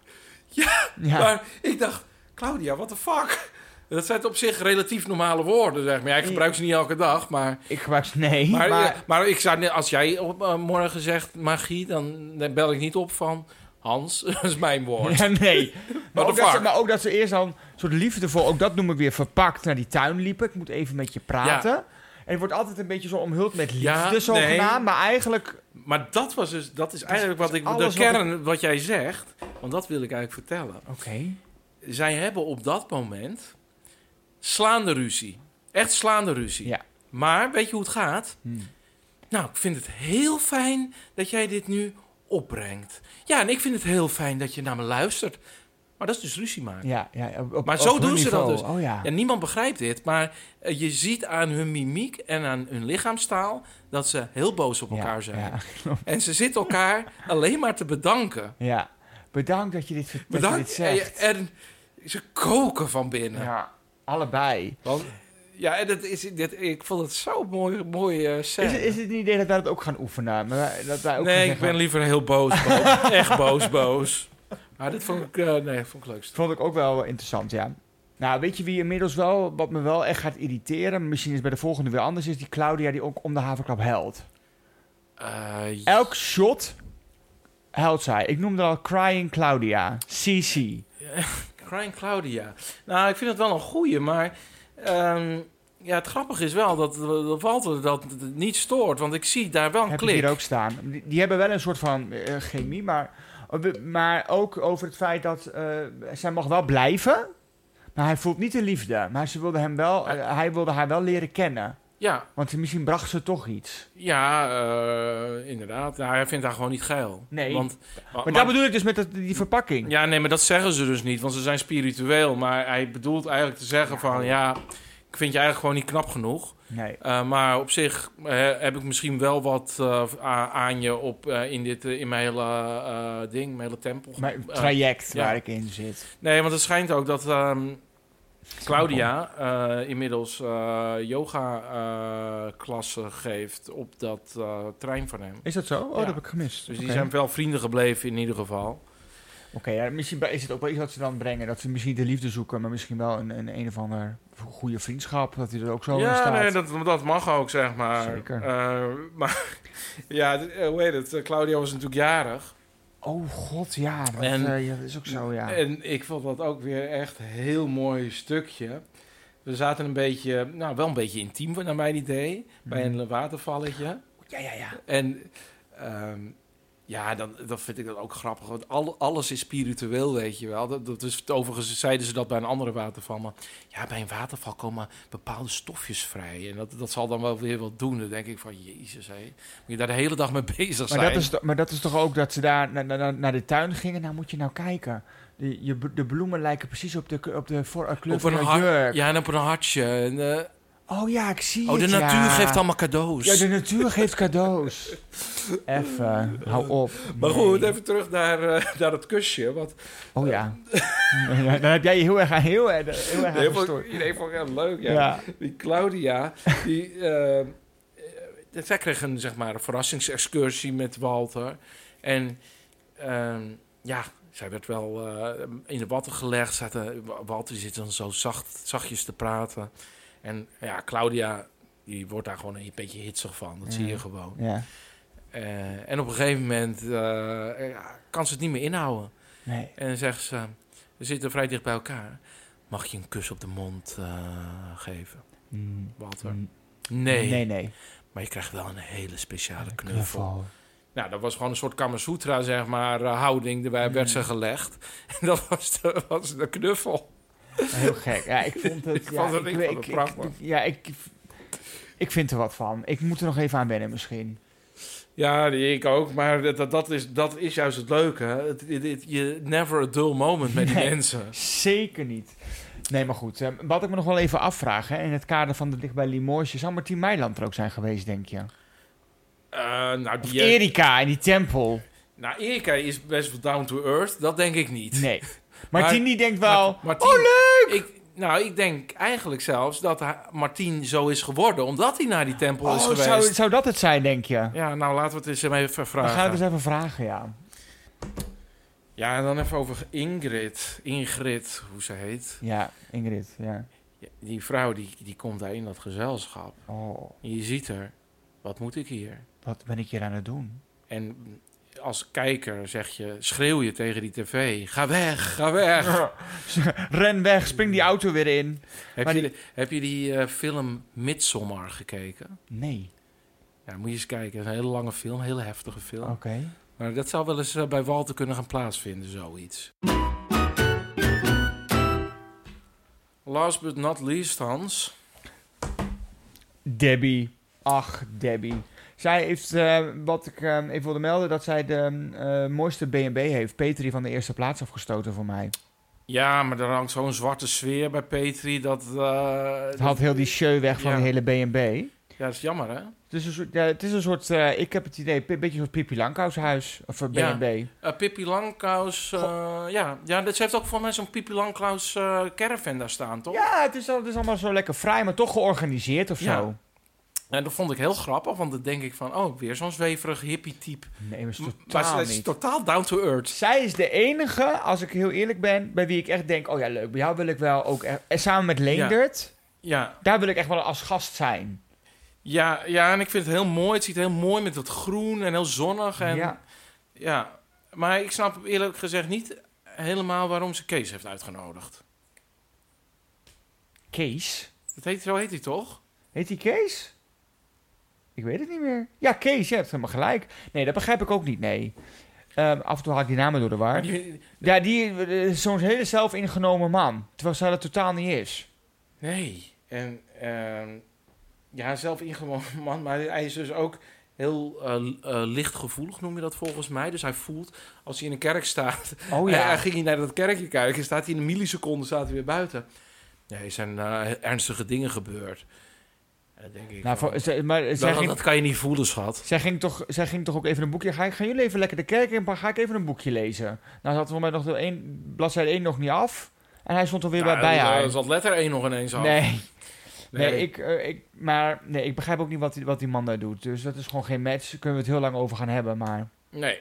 Speaker 2: Ja.
Speaker 1: Maar ik dacht, Claudia, what the fuck? Dat zijn op zich relatief normale woorden, zeg maar. Ja, ik gebruik ze niet elke dag, maar...
Speaker 2: ik gebruik ze- nee,
Speaker 1: Maar,
Speaker 2: maar,
Speaker 1: eh, maar ik zou, net- als jij op, eh, morgen zegt magie, dan, dan bel ik niet op van Hans, dat is mijn woord.
Speaker 2: Ja, nee. maar,
Speaker 1: the
Speaker 2: ook dat ze,
Speaker 1: fuck?
Speaker 2: maar ook dat ze eerst dan een soort liefdevol, ook dat noem ik weer verpakt, naar die tuin liepen. Ik moet even met je praten. En het wordt altijd een beetje zo omhuld met liefde,
Speaker 1: Ja,
Speaker 2: zogenaamd.
Speaker 1: nee.
Speaker 2: Maar eigenlijk,
Speaker 1: Maar dat was dus, dat is eigenlijk wat ik, de
Speaker 2: alles wat
Speaker 1: kern wat, jij zegt, want dat wil ik eigenlijk vertellen.
Speaker 2: oké.
Speaker 1: Zij hebben op dat moment slaande ruzie. Echt slaande ruzie.
Speaker 2: Ja. Hmm.
Speaker 1: Maar weet je hoe het gaat? Nou, ik vind het heel fijn dat jij dit nu opbrengt. Ja, en ik vind het heel fijn dat je naar me luistert. Maar dat is dus ruzie maken.
Speaker 2: Ja, ja, op- op-
Speaker 1: Maar
Speaker 2: op
Speaker 1: zo
Speaker 2: hun
Speaker 1: doen ze dat
Speaker 2: niveau.
Speaker 1: dus.
Speaker 2: Oh ja.
Speaker 1: Ja, niemand begrijpt dit, maar eh, je ziet aan hun mimiek en aan hun lichaamstaal dat ze heel boos op
Speaker 2: Ja,
Speaker 1: elkaar zijn.
Speaker 2: Ja,
Speaker 1: En ze zitten elkaar alleen maar te bedanken.
Speaker 2: ja. Bedankt dat je dit, dat je dit
Speaker 1: Bedankt. En,
Speaker 2: zegt.
Speaker 1: en ze koken van binnen. Ja,
Speaker 2: Ja, allebei.
Speaker 1: Want, ja en dat is, dit, ik vond het zo mooi, mooi eh, scène.
Speaker 2: Is, is het een idee dat wij dat ook gaan oefenen? Maar wij- dat wij ook gaan
Speaker 1: nee, ik
Speaker 2: zeggen-
Speaker 1: ben liever heel boos, Bob. Echt boos, boos. Maar dit vond ik, eh, nee, vond ik het leukst.
Speaker 2: Vond ik ook wel interessant, ja. Nou, weet je wie inmiddels wel, wat me wel echt gaat irriteren, misschien is het bij de volgende weer anders, is die Claudia die ook om de haverklap huilt.
Speaker 1: Eh,
Speaker 2: Elk shot huilt zij. Ik noemde al Crying Claudia, CC.
Speaker 1: Crying Claudia. Nou, ik vind het wel een goeie, maar... ehm, ja, het grappige is wel dat, dat Walter dat niet stoort. Want ik zie daar wel een
Speaker 2: heb ik
Speaker 1: klik.
Speaker 2: hier ook staan. Die, die hebben wel een soort van eh, chemie, maar, oh, maar ook over het feit dat eh, zij mag wel blijven, maar hij voelt niet de liefde. Maar ze wilde hem wel, eh, hij wilde haar wel leren kennen,
Speaker 1: Ja,
Speaker 2: want misschien bracht ze toch iets.
Speaker 1: ja eh, inderdaad. Nou, hij vindt haar gewoon niet geil.
Speaker 2: Nee.
Speaker 1: Want,
Speaker 2: Maar, dat bedoel ik dus met dat, die verpakking.
Speaker 1: Ja, nee, maar dat zeggen ze dus niet, want ze zijn spiritueel. Maar hij bedoelt eigenlijk te zeggen van, ja, ik vind je eigenlijk gewoon niet knap genoeg.
Speaker 2: Nee.
Speaker 1: Eh, maar op zich eh, heb ik misschien wel wat eh, a- aan je op, eh, in, dit, eh, in mijn hele eh, ding, mijn hele tempel.
Speaker 2: Mijn
Speaker 1: Eh,
Speaker 2: traject
Speaker 1: ja.
Speaker 2: waar ik in zit.
Speaker 1: nee, want het schijnt ook dat ehm, Claudia eh, inmiddels eh, yoga-klassen geeft op dat eh, trein van hem.
Speaker 2: Is dat zo? Oh,
Speaker 1: Ja.
Speaker 2: dat heb ik gemist.
Speaker 1: Dus
Speaker 2: Oké.
Speaker 1: die zijn wel vrienden gebleven in ieder geval.
Speaker 2: Oké, ja, misschien be- is het ook wel iets wat ze dan brengen. Dat ze misschien de liefde zoeken, maar misschien wel een, een, een of ander goede vriendschap. Dat hij er ook zo in
Speaker 1: ja,
Speaker 2: staat.
Speaker 1: nee, dat, dat mag ook, zeg maar.
Speaker 2: Zeker.
Speaker 1: Eh, maar ja, d- eh, hoe heet het? Eh, Claudia was natuurlijk jarig.
Speaker 2: Oh god, ja. Dat,
Speaker 1: En-
Speaker 2: eh, ja, dat is ook zo, ja.
Speaker 1: En ik vond dat ook weer echt een heel mooi stukje. We zaten een beetje, nou wel een beetje intiem naar mijn idee, bij
Speaker 2: Mhm.
Speaker 1: een watervalletje.
Speaker 2: ja, ja, ja.
Speaker 1: En ehm, ja, dan, dan vind ik dat ook grappig. Want al- alles is spiritueel, weet je wel. Dat, dat is, overigens zeiden ze dat bij een andere waterval. Maar ja, bij een waterval komen bepaalde stofjes vrij. En dat, dat zal dan wel weer wat doen. Dan denk ik van, jezus, hé. Moet je daar de hele dag mee bezig zijn?
Speaker 2: Maar dat, is, to- maar dat is toch ook dat ze daar na- na- na- naar de tuin gingen? Nou, moet je nou kijken. De, je, b- de bloemen lijken precies op de, k- op de voor, eh, kleur
Speaker 1: Op
Speaker 2: van
Speaker 1: een
Speaker 2: een
Speaker 1: hart-
Speaker 2: jurk.
Speaker 1: Ja, en op een hartje. En, eh,
Speaker 2: Oh ja, ik zie
Speaker 1: oh, de
Speaker 2: het, ja.
Speaker 1: natuur geeft allemaal cadeaus.
Speaker 2: Ja, de natuur geeft cadeaus. Even, hou op.
Speaker 1: Maar
Speaker 2: Nee.
Speaker 1: goed, even terug naar, eh, naar het kusje. Want
Speaker 2: Oh ja. Ja, Dan heb jij je heel erg aan, heel erg, heel erg aan
Speaker 1: iedereen vond
Speaker 2: gestoord.
Speaker 1: iedereen vond het heel leuk.
Speaker 2: Ja.
Speaker 1: Ja. Die Claudia, die, eh, eh, zij kreeg een, zeg maar, een verrassingsexcursie met Walter. En ehm, ja, zij werd wel eh, in de watten gelegd. Zaten, Walter zit dan zo zacht, zachtjes te praten. En ja, Claudia, die wordt daar gewoon een beetje hitsig van. Dat zie
Speaker 2: Ja.
Speaker 1: je gewoon.
Speaker 2: ja.
Speaker 1: Eh, en op een gegeven moment eh, ja, kan ze het niet meer inhouden.
Speaker 2: Nee.
Speaker 1: En dan zegt ze, we zitten vrij dicht bij elkaar. Mag je een kus op de mond eh, geven,
Speaker 2: Mm.
Speaker 1: Walter?
Speaker 2: Mm.
Speaker 1: Nee,
Speaker 2: Nee, nee.
Speaker 1: maar je krijgt wel een hele speciale knuffel.
Speaker 2: Knuffel.
Speaker 1: Nou, dat was gewoon een soort Kama Sutra, zeg maar, eh, houding. Daarbij werd
Speaker 2: Mm.
Speaker 1: ze gelegd. En dat was de, was de knuffel.
Speaker 2: Heel gek. Ja, ik vond het...
Speaker 1: Ik
Speaker 2: ja,
Speaker 1: vond het- ik
Speaker 2: weet-
Speaker 1: vond het prachtig.
Speaker 2: ja, ik... Ik vind er wat van. Ik moet er nog even aan wennen misschien.
Speaker 1: Ja, die ik ook. Maar dat, dat, dat is, dat is juist het leuke. hè. Het, het- het- je never a dull moment met die
Speaker 2: Nee.
Speaker 1: mensen.
Speaker 2: Zeker niet. Nee, maar goed. eh, Wat ik me nog wel even afvraag, hè, in het kader van de dichtbij Limoges, zou Martien Meiland er ook zijn geweest, denk je?
Speaker 1: Eh, nou,
Speaker 2: Of
Speaker 1: die, eh,
Speaker 2: Erika in die tempel.
Speaker 1: nou, Erika is best wel down to earth. Dat denk ik niet.
Speaker 2: Nee. Martien die denkt wel...
Speaker 1: Mart- Martien-
Speaker 2: oh, leuk!
Speaker 1: Ik, nou, ik denk eigenlijk zelfs dat ha- Martien zo is geworden. Omdat hij naar die tempel is
Speaker 2: Oh,
Speaker 1: geweest.
Speaker 2: zou, zou dat het zijn, denk je?
Speaker 1: Ja, nou laten we het eens even
Speaker 2: We
Speaker 1: vragen.
Speaker 2: gaan het eens dus even vragen, ja.
Speaker 1: Ja, en dan even over Ingrid. Ingrid, hoe ze heet.
Speaker 2: Ja, Ingrid, ja.
Speaker 1: Ja, Die vrouw die, die komt daar in dat gezelschap.
Speaker 2: Oh,
Speaker 1: En je ziet haar. Wat moet ik hier?
Speaker 2: wat ben ik hier aan het doen?
Speaker 1: En als kijker zeg je, schreeuw je tegen die tv. Ga weg, ga weg.
Speaker 2: Ren weg, spring die auto weer in.
Speaker 1: heb,
Speaker 2: Maar
Speaker 1: je,
Speaker 2: die-
Speaker 1: de- heb je die eh, film Midsommar gekeken?
Speaker 2: Nee.
Speaker 1: Ja, moet je eens kijken. Het is een hele lange film, een hele heftige film.
Speaker 2: Oké.
Speaker 1: Maar dat zou wel eens eh, bij Walter kunnen gaan plaatsvinden, zoiets. Last but not least, Hans.
Speaker 2: Debbie. Ach, Debbie. Zij heeft, eh, wat ik eh, even wilde melden, dat zij de eh, mooiste B&B heeft. Petri van de eerste plaats afgestoten voor mij.
Speaker 1: Ja, maar er hangt zo'n zwarte sfeer bij Petri. Dat, eh,
Speaker 2: Het haalt heel die show weg van
Speaker 1: Ja.
Speaker 2: de hele B&B.
Speaker 1: Ja, dat is jammer, hè?
Speaker 2: Het is een soort, ja, het is een soort eh, ik heb het idee, een beetje een soort Pippi Lankhuishuis. Of eh,
Speaker 1: Ja.
Speaker 2: B&B.
Speaker 1: Eh, Pippi Langkous, eh, ja. ja, dat- ze heeft ook voor mij zo'n Pippi Langkous eh, caravan daar staan, toch?
Speaker 2: Ja, het is, al- het is allemaal zo lekker vrij, maar toch georganiseerd of
Speaker 1: Ja.
Speaker 2: zo.
Speaker 1: En dat vond ik heel grappig, want dan denk ik van... Oh, weer zo'n zweverig hippie-type.
Speaker 2: Nee, maar het is
Speaker 1: Maar
Speaker 2: totaal
Speaker 1: ze is
Speaker 2: niet.
Speaker 1: totaal down to earth.
Speaker 2: Zij is de enige, als ik heel eerlijk ben, bij wie ik echt denk... Oh ja, leuk, bij jou wil ik wel ook echt... En samen met Leendert,
Speaker 1: Ja,
Speaker 2: daar wil ik echt wel als gast zijn.
Speaker 1: ja, ja, en ik vind het heel mooi. Het ziet heel mooi met dat groen en heel zonnig. En,
Speaker 2: Ja.
Speaker 1: ja. Maar ik snap eerlijk gezegd niet helemaal waarom ze Kees heeft uitgenodigd.
Speaker 2: Kees?
Speaker 1: Dat heet, zo heet hij toch?
Speaker 2: Heet hij Kees? Ik weet het niet meer. Ja, Kees, je hebt helemaal gelijk. Nee, dat begrijp ik ook niet, nee. Ehm, af en toe haal ik die namen door de war. Ja, die eh, is zo'n hele zelfingenomen man. Terwijl zij dat totaal niet is.
Speaker 1: Nee. En ehm, ja, zelf ingewoon man, maar hij is dus ook heel eh, l- eh, lichtgevoelig, noem je dat volgens mij. Dus hij voelt als hij in een kerk staat.
Speaker 2: Oh
Speaker 1: Hij-
Speaker 2: ja.
Speaker 1: hij ging hij naar dat kerkje kijken, staat hij in een milliseconde staat hij weer buiten. Nee, er zijn eh, ernstige dingen gebeurd. En dan denk ik,
Speaker 2: Nou,
Speaker 1: van,
Speaker 2: voor- ze- maar zij
Speaker 1: dat,
Speaker 2: ging,
Speaker 1: dat kan je niet voelen, schat.
Speaker 2: zij, ging toch, zij ging toch ook even een boekje... Ga, ik- gaan jullie even lekker de kerk in, maar ga ik even een boekje lezen? Nou, ze had volgens mij nog de één bladzijde 1 nog niet af. En hij stond alweer weer bij, bij
Speaker 1: Nou,
Speaker 2: haar.
Speaker 1: Er zat letter 1 nog ineens af.
Speaker 2: nee, nee.
Speaker 1: Nee.
Speaker 2: ik, eh, ik, maar nee, ik begrijp ook niet wat die, wat die man daar doet. Dus dat is gewoon geen match. Daar kunnen we het heel lang over gaan hebben, maar...
Speaker 1: Nee,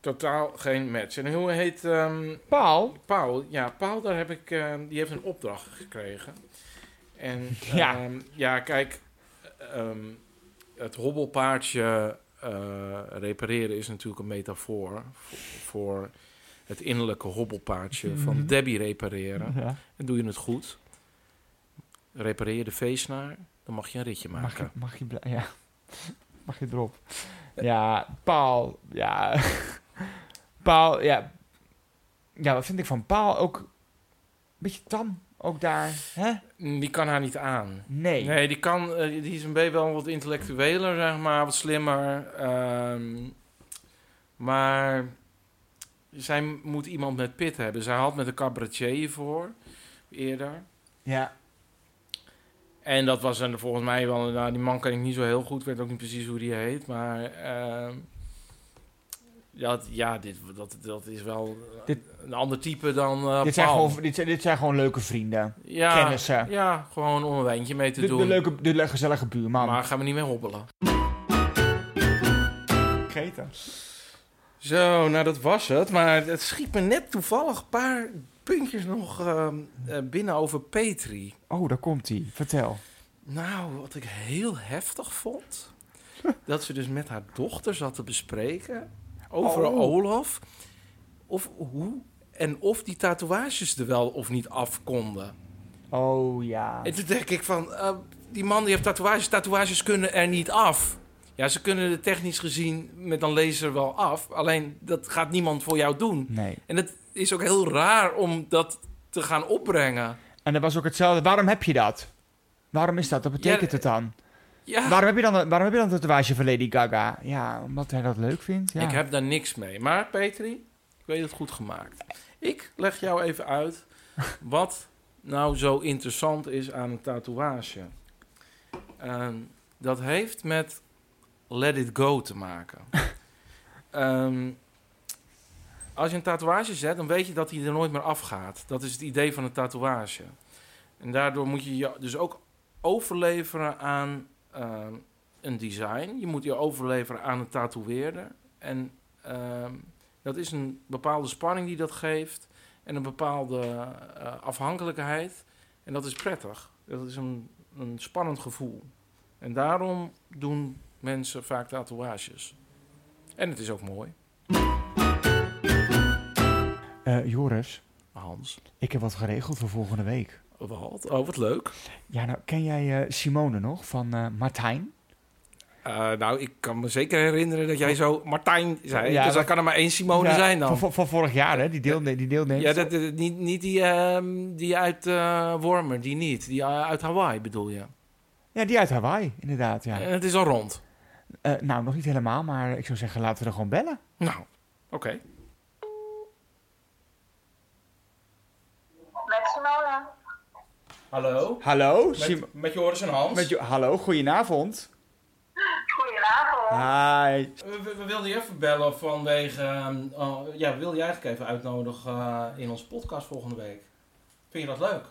Speaker 1: totaal geen match. En hoe heet ehm,
Speaker 2: Paul?
Speaker 1: Paul? Ja, Paul, daar heb ik, ehm, die heeft een opdracht gekregen. En
Speaker 2: Ja.
Speaker 1: ja, ja kijk, ehm, het hobbelpaardje eh, repareren is natuurlijk een metafoor voor, voor het innerlijke hobbelpaardje van
Speaker 2: Mhm.
Speaker 1: Debbie repareren.
Speaker 2: Ja.
Speaker 1: En doe je het goed, repareer je de feestnaar, dan mag je een ritje maken.
Speaker 2: Mag je, mag je, bla- ja. mag je erop? Ja, Paul. Ja. Paul, ja. Ja, wat vind ik van Paul? Ook een beetje tam, ook daar. Hè?
Speaker 1: Die kan haar niet aan.
Speaker 2: Nee.
Speaker 1: Nee, die, kan, eh, die is een beetje wel wat intellectueler, zeg maar, wat slimmer. ehm, maar zij moet iemand met pit hebben. Zij had met een cabaretier hiervoor, eerder.
Speaker 2: Ja.
Speaker 1: En dat was dan volgens mij wel... Nou, die man kan ik niet zo heel goed, ik weet ook niet precies hoe die heet. Maar ehm, dat, ja, dit, dat, dat is wel
Speaker 2: Dit-
Speaker 1: een ander type dan eh
Speaker 2: dit, zijn
Speaker 1: Paul.
Speaker 2: gewoon, dit, zijn, dit zijn gewoon leuke vrienden.
Speaker 1: ja,
Speaker 2: kennissen.
Speaker 1: Ja, gewoon om een wijntje mee te
Speaker 2: De, de
Speaker 1: doen.
Speaker 2: leuke, de le- gezellige buurman.
Speaker 1: Maar gaan we niet meer hobbelen.
Speaker 2: Gegeten.
Speaker 1: Zo, nou dat was het. Maar het schiet me net toevallig een paar puntjes nog ehm, eh, binnen over Petri.
Speaker 2: Oh, daar komt hij. Vertel.
Speaker 1: Nou, wat ik heel heftig vond. dat ze dus met haar dochter zat te bespreken over
Speaker 2: Oh.
Speaker 1: Olaf. Of hoe en of die tatoeages er wel of niet af konden.
Speaker 2: Oh ja.
Speaker 1: En toen denk ik van, eh, die man die heeft tatoeages, tatoeages kunnen er niet af. Ja, ze kunnen er technisch gezien met een laser wel af. Alleen dat gaat niemand voor jou doen.
Speaker 2: Nee.
Speaker 1: En het is ook heel raar om dat te gaan opbrengen.
Speaker 2: En dat was ook hetzelfde. Waarom heb je dat? Waarom is dat? Wat betekent
Speaker 1: Ja, eh.
Speaker 2: het dan?
Speaker 1: Ja,
Speaker 2: Waarom heb, je dan, een- waarom heb je dan een tatoeage van Lady Gaga? Ja, omdat hij dat leuk vindt. Hm, Ja.
Speaker 1: ik heb daar niks mee. Maar Petri, ik weet het goed gemaakt. Ik leg jou even uit wat nou zo interessant is aan een tatoeage. Ehm, dat heeft met let it go te maken. Ehm, als je een tatoeage zet, dan weet je dat hij er nooit meer afgaat. Dat is het idee van een tatoeage. En daardoor moet je je dus ook overleveren aan ehm, een design. Je moet je overleveren aan een tatoeëerder. En ehm, dat is een bepaalde spanning die dat geeft. En een bepaalde eh, afhankelijkheid. En dat is prettig. Dat is een, een spannend gevoel. En daarom doen mensen vaak tatoeages. En het is ook mooi.
Speaker 2: Eh, Joris,
Speaker 1: Hans.
Speaker 2: ik heb wat geregeld voor volgende week.
Speaker 1: Wat? Oh, wat leuk.
Speaker 2: Ja, nou, ken jij eh, Simone nog van eh, Martijn?
Speaker 1: Eh, nou, ik kan me zeker herinneren dat jij zo Martijn zei.
Speaker 2: Ja,
Speaker 1: dus
Speaker 2: dat-
Speaker 1: dat kan er maar één Simone
Speaker 2: Ja,
Speaker 1: zijn dan.
Speaker 2: Van, van- van vorig jaar, hè? Die deelde, die deelneemt.
Speaker 1: Ja, dat, dat- niet, niet die, ehm, die uit eh Wormer, die niet. Die eh, uit Hawaii bedoel je.
Speaker 2: Ja, die uit Hawaii, inderdaad. Ja.
Speaker 1: En het is al rond.
Speaker 2: Eh, nou, nog niet helemaal, maar ik zou zeggen, laten we er gewoon bellen.
Speaker 1: Nou, oké.
Speaker 3: Met Simone.
Speaker 1: Hallo?
Speaker 2: Hallo,
Speaker 1: met Joris en Hans.
Speaker 2: hallo, goedenavond.
Speaker 3: Goedenavond.
Speaker 2: Hi.
Speaker 1: We, we- we wilden je even bellen vanwege... ehm, oh, ja, we wilden je eigenlijk even uitnodigen eh, in onze podcast volgende week. Vind je dat leuk?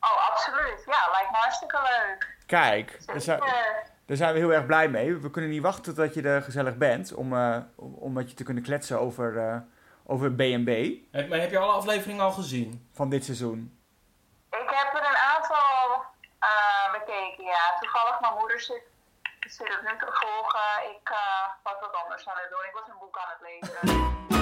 Speaker 3: Oh, absoluut. Ja, lijkt me hartstikke leuk. Eh,
Speaker 2: Kijk, daar zijn,
Speaker 3: Zeker.
Speaker 2: daar zijn we heel erg blij mee. We kunnen niet wachten totdat je er gezellig bent, om, eh, om, om met je te kunnen kletsen over, eh, over B&B
Speaker 1: Heb, maar heb je alle afleveringen al gezien?
Speaker 2: van dit seizoen.
Speaker 3: Ik heb er een aantal eh, bekeken, ja. Toevallig mijn moeder zit, zit het nu te volgen. Ik eh, was wat anders aan het doen. Ik was een boek aan het lezen.